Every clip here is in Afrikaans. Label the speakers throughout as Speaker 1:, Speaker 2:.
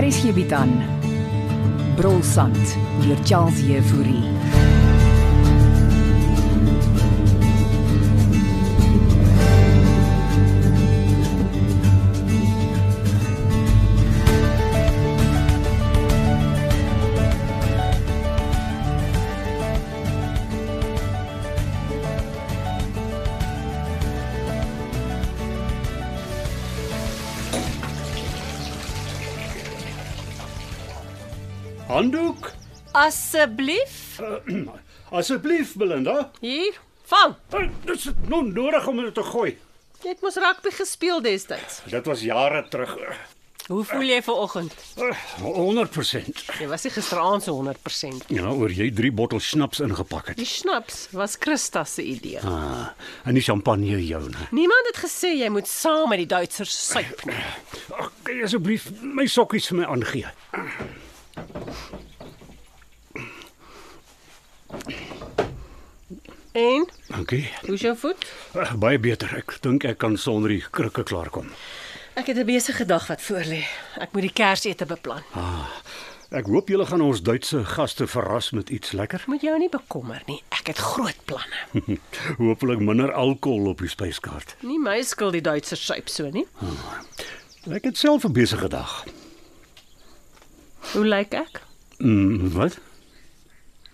Speaker 1: Hier is hierby dan. Brolsand deur Charles Euphorie.
Speaker 2: Handdoek?
Speaker 3: Asseblief.
Speaker 2: Asseblief, Belinda.
Speaker 3: Hier, vang.
Speaker 2: Eh, Dis nou nodig om dit te gooi.
Speaker 3: Jy het mos rugby gespeel destyds.
Speaker 2: Dit was jare terug.
Speaker 3: Hoe voel jy vanoggend?
Speaker 2: Eh, 100%.
Speaker 3: Jy was nie gisteraand so 100%.
Speaker 2: Ja, oor jy 3 bottels snaps ingepak het.
Speaker 3: Die snaps was Christa se idee.
Speaker 2: Ah, en die champagne joune.
Speaker 3: Niemand het gesê jy moet saam met die Duitsers suip nie.
Speaker 2: Ag, kan jy asseblief my sokkies vir my aangee?
Speaker 3: En
Speaker 2: Dankie.
Speaker 3: hoe's jou voet?
Speaker 2: Eh, Baie beter. Ek dink ek kan sonder die krikke klaarkom.
Speaker 3: Ek het 'n besige dag wat voor lê. Ek moet die Kersete beplan.
Speaker 2: Ek hoop julle gaan ons Duitse gaste verras met iets lekker.
Speaker 3: Moet jou nie bekommer nie. Ek het groot planne.
Speaker 2: Hoopelik minder alkohol op die spyskaart.
Speaker 3: Nie my skuld die Duitsers suip so nie.
Speaker 2: Ek het self 'n besige dag.
Speaker 3: Hoe lyk ek?
Speaker 2: Mm, wat?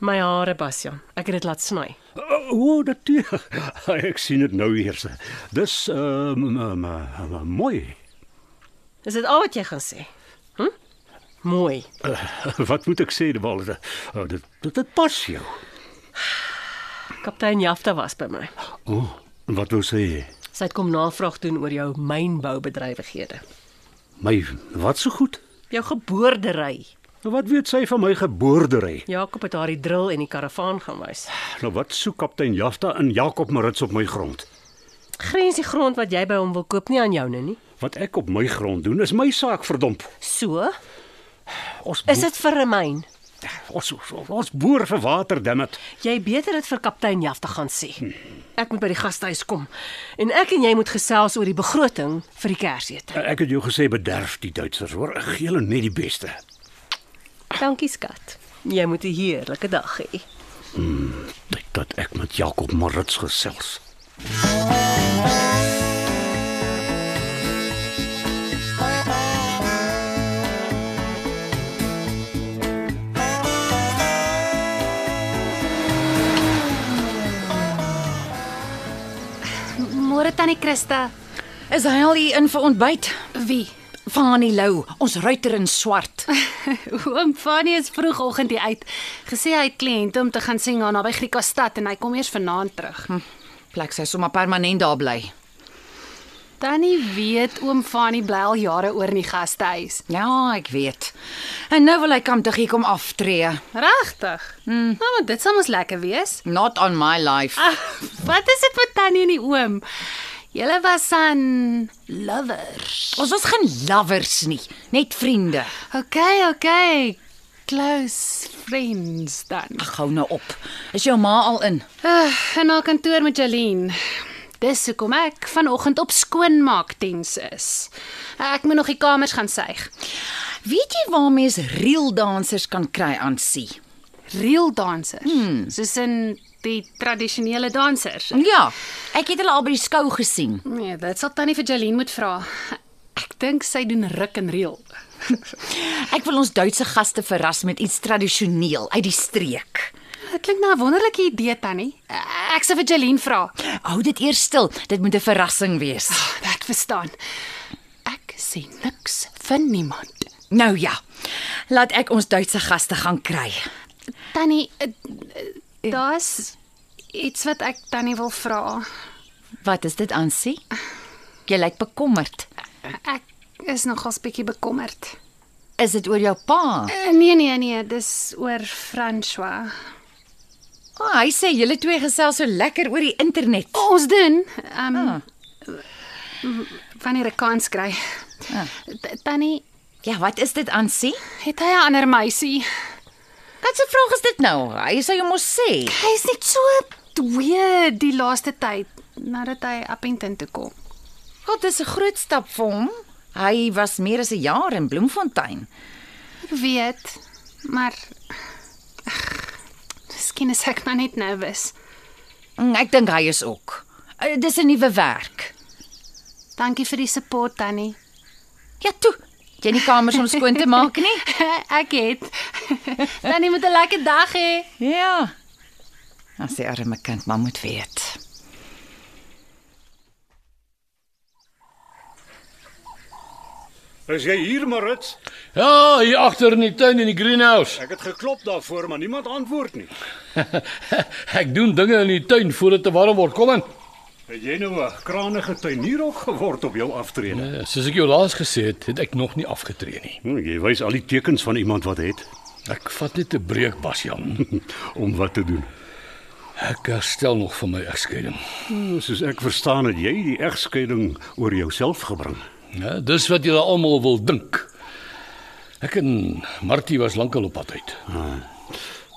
Speaker 3: My hare, Bastian. Ek het dit laat sny.
Speaker 2: O, oh, natuurlik. Ek sien dit nou eers. Dis ehm um, um, um, mooi.
Speaker 3: Is dit al wat jy gaan sê? Hm? Mooi.
Speaker 2: Eh, Wat moet ek sê, Dewal? Oh, dit dit dit pas jou.
Speaker 3: Kaptein Jafta was by my.
Speaker 2: O, oh, wat wou sê?
Speaker 3: Sy het kom navraag doen oor jou mynboubedrywighede.
Speaker 2: My wat so goed?
Speaker 3: Jou geboordery.
Speaker 2: Wat weet sy van my geboordery?
Speaker 3: Jakob het haar die drill en die karavaan gaan wys.
Speaker 2: Nou wat soek kaptein Jafta in Jakob Marits op my grond?
Speaker 3: Grens die grond wat jy by hom wil koop nie aan joune nie.
Speaker 2: Wat ek op my grond doen is my saak, verdomp.
Speaker 3: So,
Speaker 2: Ons
Speaker 3: is dit vir 'n myn.
Speaker 2: boer- ons ons boer vir water, dammit.
Speaker 3: Jy beter dit vir kaptein Jaf te gaan sê. Ek moet by die gastehuis kom en ek en jy moet gesels oor die begroting vir die Kersete.
Speaker 2: Eh, Ek het jou gesê bederf die Duitsers, hoor. Ek gee hulle net die beste.
Speaker 3: Dankie skat. Jy moet 'n heerlike dag hê.
Speaker 2: Tyd dat ek met Jakob Marits gesels.
Speaker 4: Môre tannie Christa.
Speaker 5: Is hy al hier in vir ontbyt?
Speaker 4: Wie?
Speaker 5: Fani Lou, ons ruiter in swart.
Speaker 4: Oom Fanie is vroegoggend hier uit. Gesê hy het kliënte om te gaan sien aan naby Grieka stad en hy kom eers vanaand terug.
Speaker 5: Plek sy sommer permanent daar bly.
Speaker 4: Tannie weet oom Fanie bly al jare oor in die gastehuis.
Speaker 5: Ja, ek weet. En nou wil hy kamptig hier kom aftree.
Speaker 4: Regtig? Mm. Nou, maar dit sal mos lekker wees.
Speaker 5: Not on my life.
Speaker 4: Ah, wat is dit vir tannie en die oom? Julle was aan lovers.
Speaker 5: Ons was geen lovers nie, net vriende.
Speaker 4: OK, OK. Close friends dan.
Speaker 5: Ag hou nou op. Is jou ma al in?
Speaker 4: Uh, in haar kantoor met Jolene. Dis hoekom ek vanoggend op skoonmaakdiens is. Ek moet nog die kamers gaan suig.
Speaker 5: Weet jy waar mens reeldansers kan kry aan sie?
Speaker 4: Reel dansers, hmm. soos in die tradisionele dansers.
Speaker 5: Ja, ek het hulle al by die skou gesien.
Speaker 4: Nee, dit sal tannie vir Jolene moet vra. Ek dink sy doen ruk en reel.
Speaker 5: Ek wil ons Duitse gaste verras met iets tradisioneel uit die streek.
Speaker 4: Dit klink na 'n wonderlike idee tannie. Ek sal vir Jolene vra.
Speaker 5: Hou dit eers stil, dit moet 'n verrassing wees.
Speaker 4: Ek verstaan. Ek sê niks vir niemand.
Speaker 5: Nou ja. Laat ek ons Duitse gaste gaan kry.
Speaker 4: Tannie, eh, eh, daar's iets wat ek tannie wil vra.
Speaker 5: Wat is dit, Ansie? Jy lyk bekommerd.
Speaker 4: Ek is nogals bietjie bekommerd.
Speaker 5: Is dit oor jou pa?
Speaker 4: Uh, nee nee nee, dis oor François.
Speaker 5: O, oh, hy sê julle twee gesels so lekker oor die internet.
Speaker 4: O, ons doen. Ehm um, ah. wanneer ek kans kry. Ah. Tannie,
Speaker 5: Ja, wat is dit Ansie?
Speaker 4: Het hy 'n ander meisie?
Speaker 5: Wat 'n vraag is dit nou? Hy sou jou mos sê.
Speaker 4: Hy is net so weird die laaste tyd nadat hy Appington toe kom.
Speaker 5: God, dis 'n groot stap vir hom. Hy was meer as 'n jaar in Bloemfontein.
Speaker 4: Ek weet, maar Ag, Miskien is ek maar net nervus.
Speaker 5: Mm, Ek dink hy is ook. Eh, Dis 'n nuwe werk.
Speaker 4: Dankie vir die support tannie.
Speaker 5: Ja toe, jy nie kamers om skoon te maak nie.
Speaker 4: ek het. tannie moet 'n lekker dag hê.
Speaker 5: Ja. As die arme kind maar moet weet.
Speaker 2: Is jy hier, Marit?
Speaker 6: Ja, hier agter in die tuin in die greenhouse.
Speaker 2: Ek het geklop daarvoor, maar niemand antwoord nie.
Speaker 6: Ek doen dinge in die tuin voordat dit te warm word. Kom in.
Speaker 2: Het jy nou 'n kranige tuinier ook geword op jou aftrede?
Speaker 6: Eh, Soos ek jou laas gesê het, het ek nog nie afgetree nie.
Speaker 2: Nee. Hm, jy wys al die tekens van iemand wat het
Speaker 6: Ek vat net 'n breek, Basjan.
Speaker 2: om wat te doen.
Speaker 6: Ek herstel nog van my egskeiding.
Speaker 2: Hm, Soos ek verstaan het jy die egskeiding oor jouself gebring.
Speaker 6: Ja, dis wat julle almal wil dink. Ek en Martie was lankal op pad uit.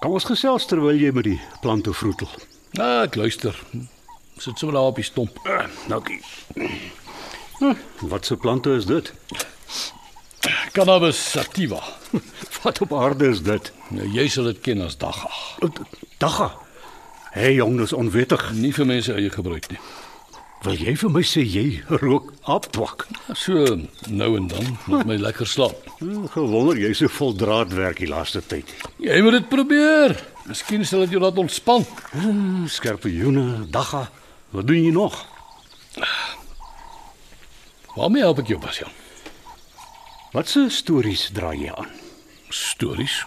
Speaker 2: Kom ons gesels terwyl jy met die plante vroetel.
Speaker 6: Ah, ek luister. Sit sommer daar op die stomp.
Speaker 2: Uh, dankie. Hm, wat 'n plante is dit?
Speaker 6: Cannabis sativa.
Speaker 2: Wat op aarde is dit?
Speaker 6: Nou jy sal dit ken as dagga.
Speaker 2: Dagga. Hey jong, dis onwettig.
Speaker 6: Nie vir mense eie gebruik nie.
Speaker 2: Wil jy vir my sê jy rook aptwak?
Speaker 6: So nou en dan moet my lekker slaap.
Speaker 2: Hm, Gewonder jy so vol draadwerk die laaste tyd.
Speaker 6: Jy moet dit probeer. Miskien sal dit jou laat ontspan.
Speaker 2: Hm, Skerpioene, dagga. Wat doen jy nog?
Speaker 6: Waarmee help ek jou, Basjan?
Speaker 2: Watse stories draai jy aan?
Speaker 6: Stories.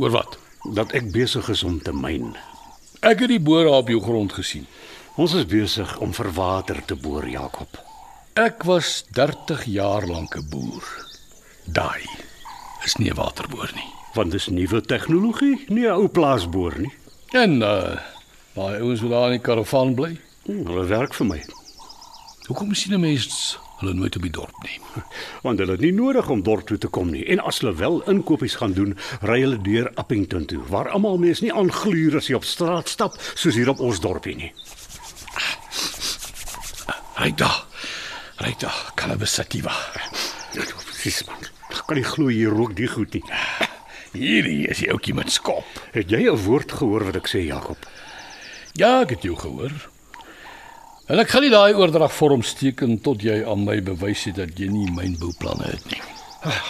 Speaker 6: Oor wat?
Speaker 2: Dat ek besig is om te myn.
Speaker 6: Ek het die bore op jou grond gesien.
Speaker 2: Ons is besig om vir water te boor, Jakob.
Speaker 6: Ek was 30 jaar lank 'n boer. Daai is nie 'n waterboer nie.
Speaker 2: Want dis nuwe tegnologie, nie 'n ou plaasboor nie.
Speaker 6: En uh daai ouens wat daar in die karavaan bly.
Speaker 2: Hm, Hulle werk vir my,
Speaker 6: Hoekom sien 'n mens hulle nooit op die dorp nie?
Speaker 2: want hulle het nie nodig om dorp toe te kom nie. En as hulle wel inkopies gaan doen, ry hulle deur Appington toe, waar almal mense nie aangluur as jy op straat stap soos hier op ons dorpie nie.
Speaker 6: Ryk daar. Ryk daar, cannabis sativa.
Speaker 2: Presies man. Ek kan nie glo jy rook die goed nie.
Speaker 6: Hierdie is die ouetjie met skop.
Speaker 2: Het jy 'n woord gehoor wat ek sê, Jakob?
Speaker 6: Ja, ek het jou gehoor. En ek gaan nie daai oordragvorm steken tot jy aan my bewys het dat jy nie mynbouplanne het nie.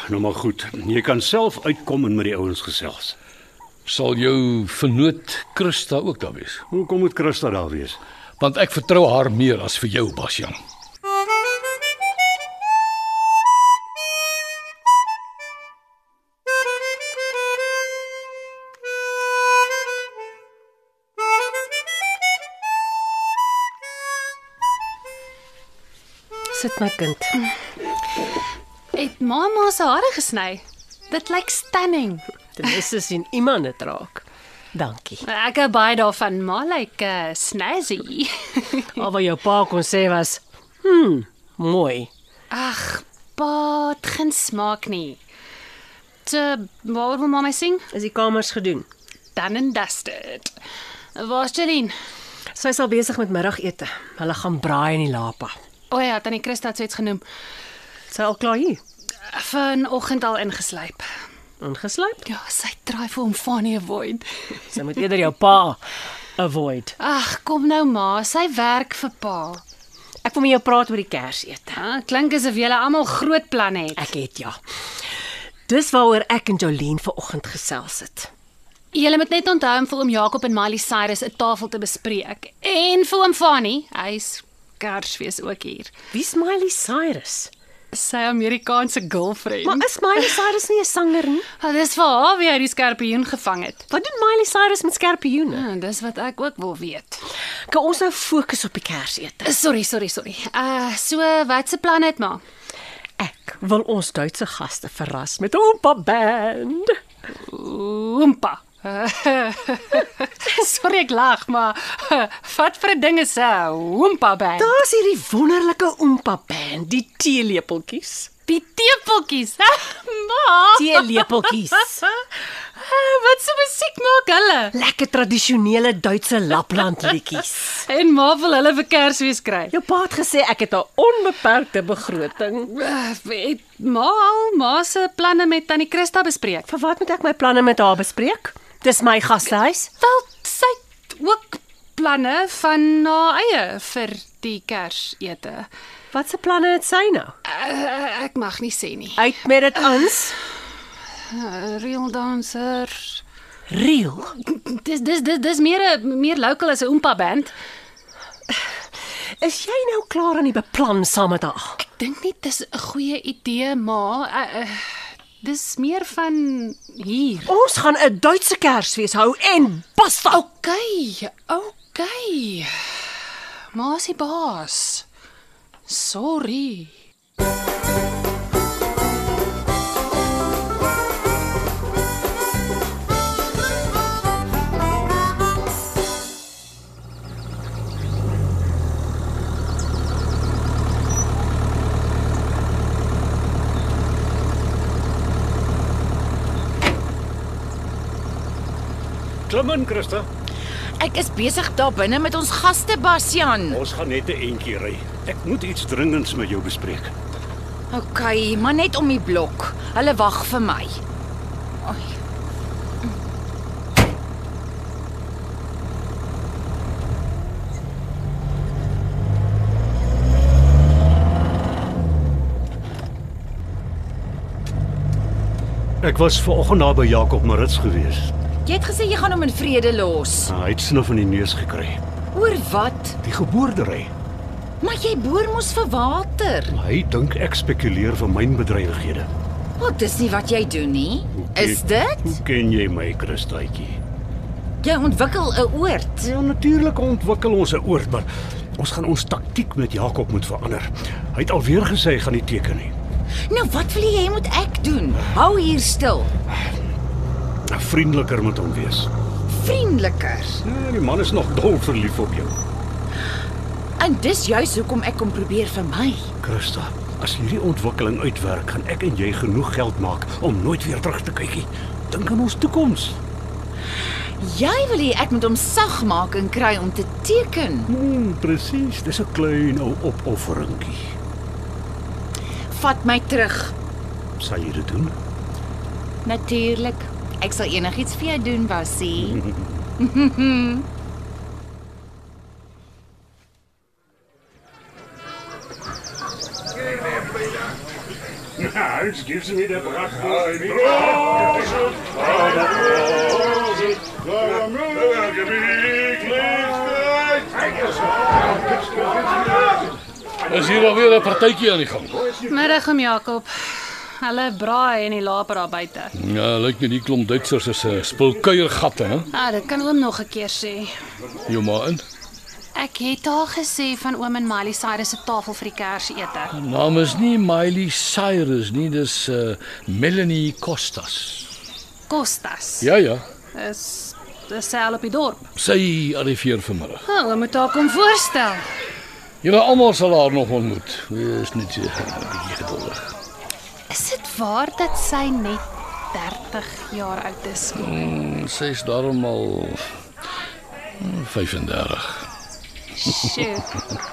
Speaker 2: Nou maar goed, jy kan self uitkom en met die ouens gesels.
Speaker 6: Sal jou vernoot Christa ook daar wees?
Speaker 2: Hoekom moet Christa daar wees?
Speaker 6: Want ek vertrou haar meer as vir jou, Basjan.
Speaker 3: Sit my kind.
Speaker 4: Het mamma se hare gesny. Dit lyk stunning.
Speaker 3: Ten minste sien iemand dit raak. Dankie.
Speaker 4: Ek hou baie daarvan, maar lyk like, uh, snazzy.
Speaker 3: Al wat jou pa kon sê was, "Hm, mooi."
Speaker 4: Ag, pa, dit geen smaak nie. Te waar wil mamma sing?
Speaker 3: Is die kamers gedoen?
Speaker 4: Dan en dusted. Waar's Jeline?
Speaker 3: Sy is al besig met middagete. Hulle gaan braai in die lapa.
Speaker 4: O ja, tannie Christa het so iets genoem.
Speaker 3: Sy al klaar hier.
Speaker 4: Vanoggend al ingeslyp.
Speaker 3: Ingesluip.
Speaker 4: Ja, sy draai vir hom Fanie Void.
Speaker 3: Sy moet eerder jou pa avoid.
Speaker 4: Ag, kom nou ma, sy werk vir pa.
Speaker 3: Ek wil met jou praat oor die Kersete.
Speaker 4: Ah, klink asof julle almal groot planne het.
Speaker 3: Ek het ja. Dis waaroor ek en Jolene vanoggend gesels het.
Speaker 4: Julle moet net onthou om vir oom Jakob en Miley Cyrus 'n tafel te bespreek en vir oom Fanie, hy's Kersfees ook hier.
Speaker 3: Wie's Miley Cyrus?
Speaker 4: Sy Amerikaanse girlfriend.
Speaker 3: Maar is Miley Cyrus nie 'n sanger nie?
Speaker 4: oh, dis vir haar wie hy die skorpioen gevang het.
Speaker 3: Wat doen Miley Cyrus met skerpioene?
Speaker 4: Ah, dis wat ek ook wil weet.
Speaker 3: Kan ons nou fokus op die Kersete?
Speaker 4: Sorry, sorry, sorry. Uh, so wat se planne het maar?
Speaker 3: Ek wil ons Duitse gaste verras met 'n oompa band.
Speaker 4: Oompa. sorry ek lag, maar wat vir 'n ding is 'n oompa band?
Speaker 3: Daar's hierdie wonderlike oompa band, die teelepeltjies.
Speaker 4: Die teepotjies. Ma,
Speaker 3: Teelepeltjies.
Speaker 4: wat se musiek maak hulle?
Speaker 3: Lekker tradisionele Duitse Lapland liedjies.
Speaker 4: En ma wil hulle vir Kersfees kry.
Speaker 3: Jou pa het gesê ek het 'n onbeperkte begroting.
Speaker 4: Uh, het ma al ma se planne met tannie Christa bespreek?
Speaker 3: Vir wat moet ek my planne met haar bespreek? Dis my gastehuis.
Speaker 4: Wel, sy het ook planne van haar eie vir die Kersete.
Speaker 3: Wat se planne het sy nou?
Speaker 4: Uh, ek mag nie sê nie.
Speaker 3: Uit met dit ons.
Speaker 4: Uh, real dancer.
Speaker 3: Reël.
Speaker 4: Dis dis dis dis meer 'n meer local as 'n oompa band.
Speaker 3: Is jy nou klaar aan die beplan saam met haar?
Speaker 4: Ek dink nie dis 'n goeie idee, ma. Uh, uh, dis meer van hier.
Speaker 3: Ons gaan 'n Duitse Kersfees hou en basta. Oh,
Speaker 4: OK, OK. Ma is die baas. Sorry.
Speaker 2: Klim in, Christa.
Speaker 5: Ek is besig daar binne met ons gaste Bastian.
Speaker 2: Ons gaan net 'n entjie ry. Ek moet iets dringends met jou bespreek.
Speaker 5: OK, maar net om die blok. Hulle wag vir my. Ai,
Speaker 2: Ek was vanoggend daar by Jakob Marits gewees.
Speaker 5: jy het gesê jy gaan hom in vrede los.
Speaker 2: Ah, hy het snuf in die neus gekry.
Speaker 5: Oor wat?
Speaker 2: Die geboordery.
Speaker 5: Maar jy boor mos vir water.
Speaker 2: Maar Nou, Hy dink ek spekuleer vir mynbedrywighede.
Speaker 5: Wat dis nie wat jy doen nie. Is dit?
Speaker 2: Hoe ken jy my, Christaatjie?
Speaker 5: Jy ontwikkel 'n oord.
Speaker 2: Ja, natuurlik ontwikkel ons 'n oord, maar ons gaan ons taktiek met Jakob moet verander. Hy het alweer gesê hy gaan nie teken nie.
Speaker 5: Nou wat wil jy moet ek doen? Hou hier stil.
Speaker 2: Nou, Vriendeliker moet hom wees.
Speaker 5: Vriendeliker.
Speaker 2: Ja, die man is nog dol verlief op jou.
Speaker 5: En dis juis hoekom ek hom probeer vermy.
Speaker 2: Christa, as hierdie ontwikkeling uitwerk, gaan ek en jy genoeg geld maak om nooit weer terug te kyk nie. Dink aan ons toekoms.
Speaker 5: Jy wil hê ek moet hom sag maak en kry om te teken.
Speaker 2: Hmm, presies, dis 'n klein ou opofferingkie.
Speaker 5: Vat my terug.
Speaker 2: Sal jy dit doen?
Speaker 5: Natuurlik. Ek sal enigiets vir jou doen, Basie.
Speaker 2: Ja, jetzt gibst du mir der Bracht.
Speaker 6: Is hier alweer 'n partytjie aan die gang?
Speaker 4: Middag om Jakob. Hulle braai en die laper daar buite.
Speaker 6: Ja, lyk net die klomp Duitsers is 'n spulkuiergatte, hè?
Speaker 4: Ah, dit kan oom nog 'n keer sê.
Speaker 6: Jou maar in.
Speaker 4: Ek het al gesê van oom en Miley Cyrus se tafel vir die Kersete.
Speaker 6: Naam is nie Miley Cyrus nie, dis uh, Melanie Costas.
Speaker 4: Kostas.
Speaker 6: Ja ja,
Speaker 4: Dis dis al op die dorp.
Speaker 6: sy arriveer vanmiddag.
Speaker 4: Hulle moet haar kom voorstel.
Speaker 6: Julle almal sal haar nog ontmoet. Wees net seker, 'n bietjie eh, geduldig.
Speaker 4: Is dit waar dat sy net 30 jaar oud is?
Speaker 6: Sy Hm, is daarom al mm, 35.
Speaker 4: Sjoe.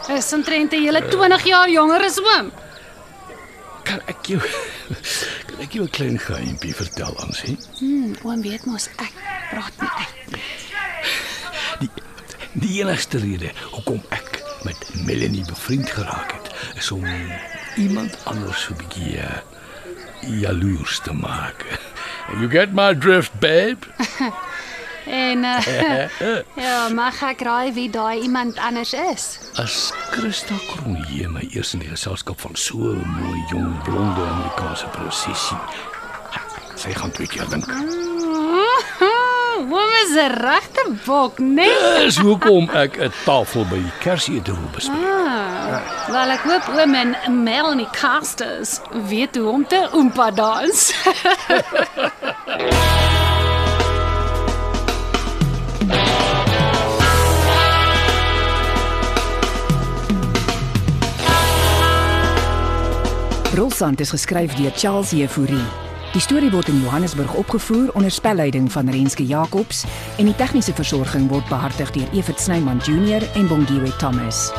Speaker 4: Is omtrent 'n hele 20 jaar jonger as oom.
Speaker 6: Kan ek jou kan ek jou 'n klein geheimpie vertel, Ansie?
Speaker 4: Hmm, oom weet mos ek praat nie uit.
Speaker 6: Die die enigste rede hoekom ek met Melanie bevriend geraak het, is om iemand anders so 'n bietjie eh, jaloers te maak. You get my drift, babe?
Speaker 4: En uh, ja, mag ek raai wie daai iemand anders is?
Speaker 6: As Christa Kronje my eers in die geselskap van so 'n mooi jong blonde Amerikaanse prinsessie. Sy gaan twee keer dink.
Speaker 4: Oom is 'n regte bok, né? Nee?
Speaker 6: Dis hoekom ek 'n tafel by die Kersete wil bespreek.
Speaker 4: Ah, wel ek hoop oom en Melanie Casters weet hoe om te oompa dans.
Speaker 5: Brolsand is geskryf deur Charles Jefouri. Die storie word in Johannesburg opgevoer onder spelleiding van Renske Jacobs en die tegniese versorging word behartig deur Evert Snyman Junior en Bongwe Thomas.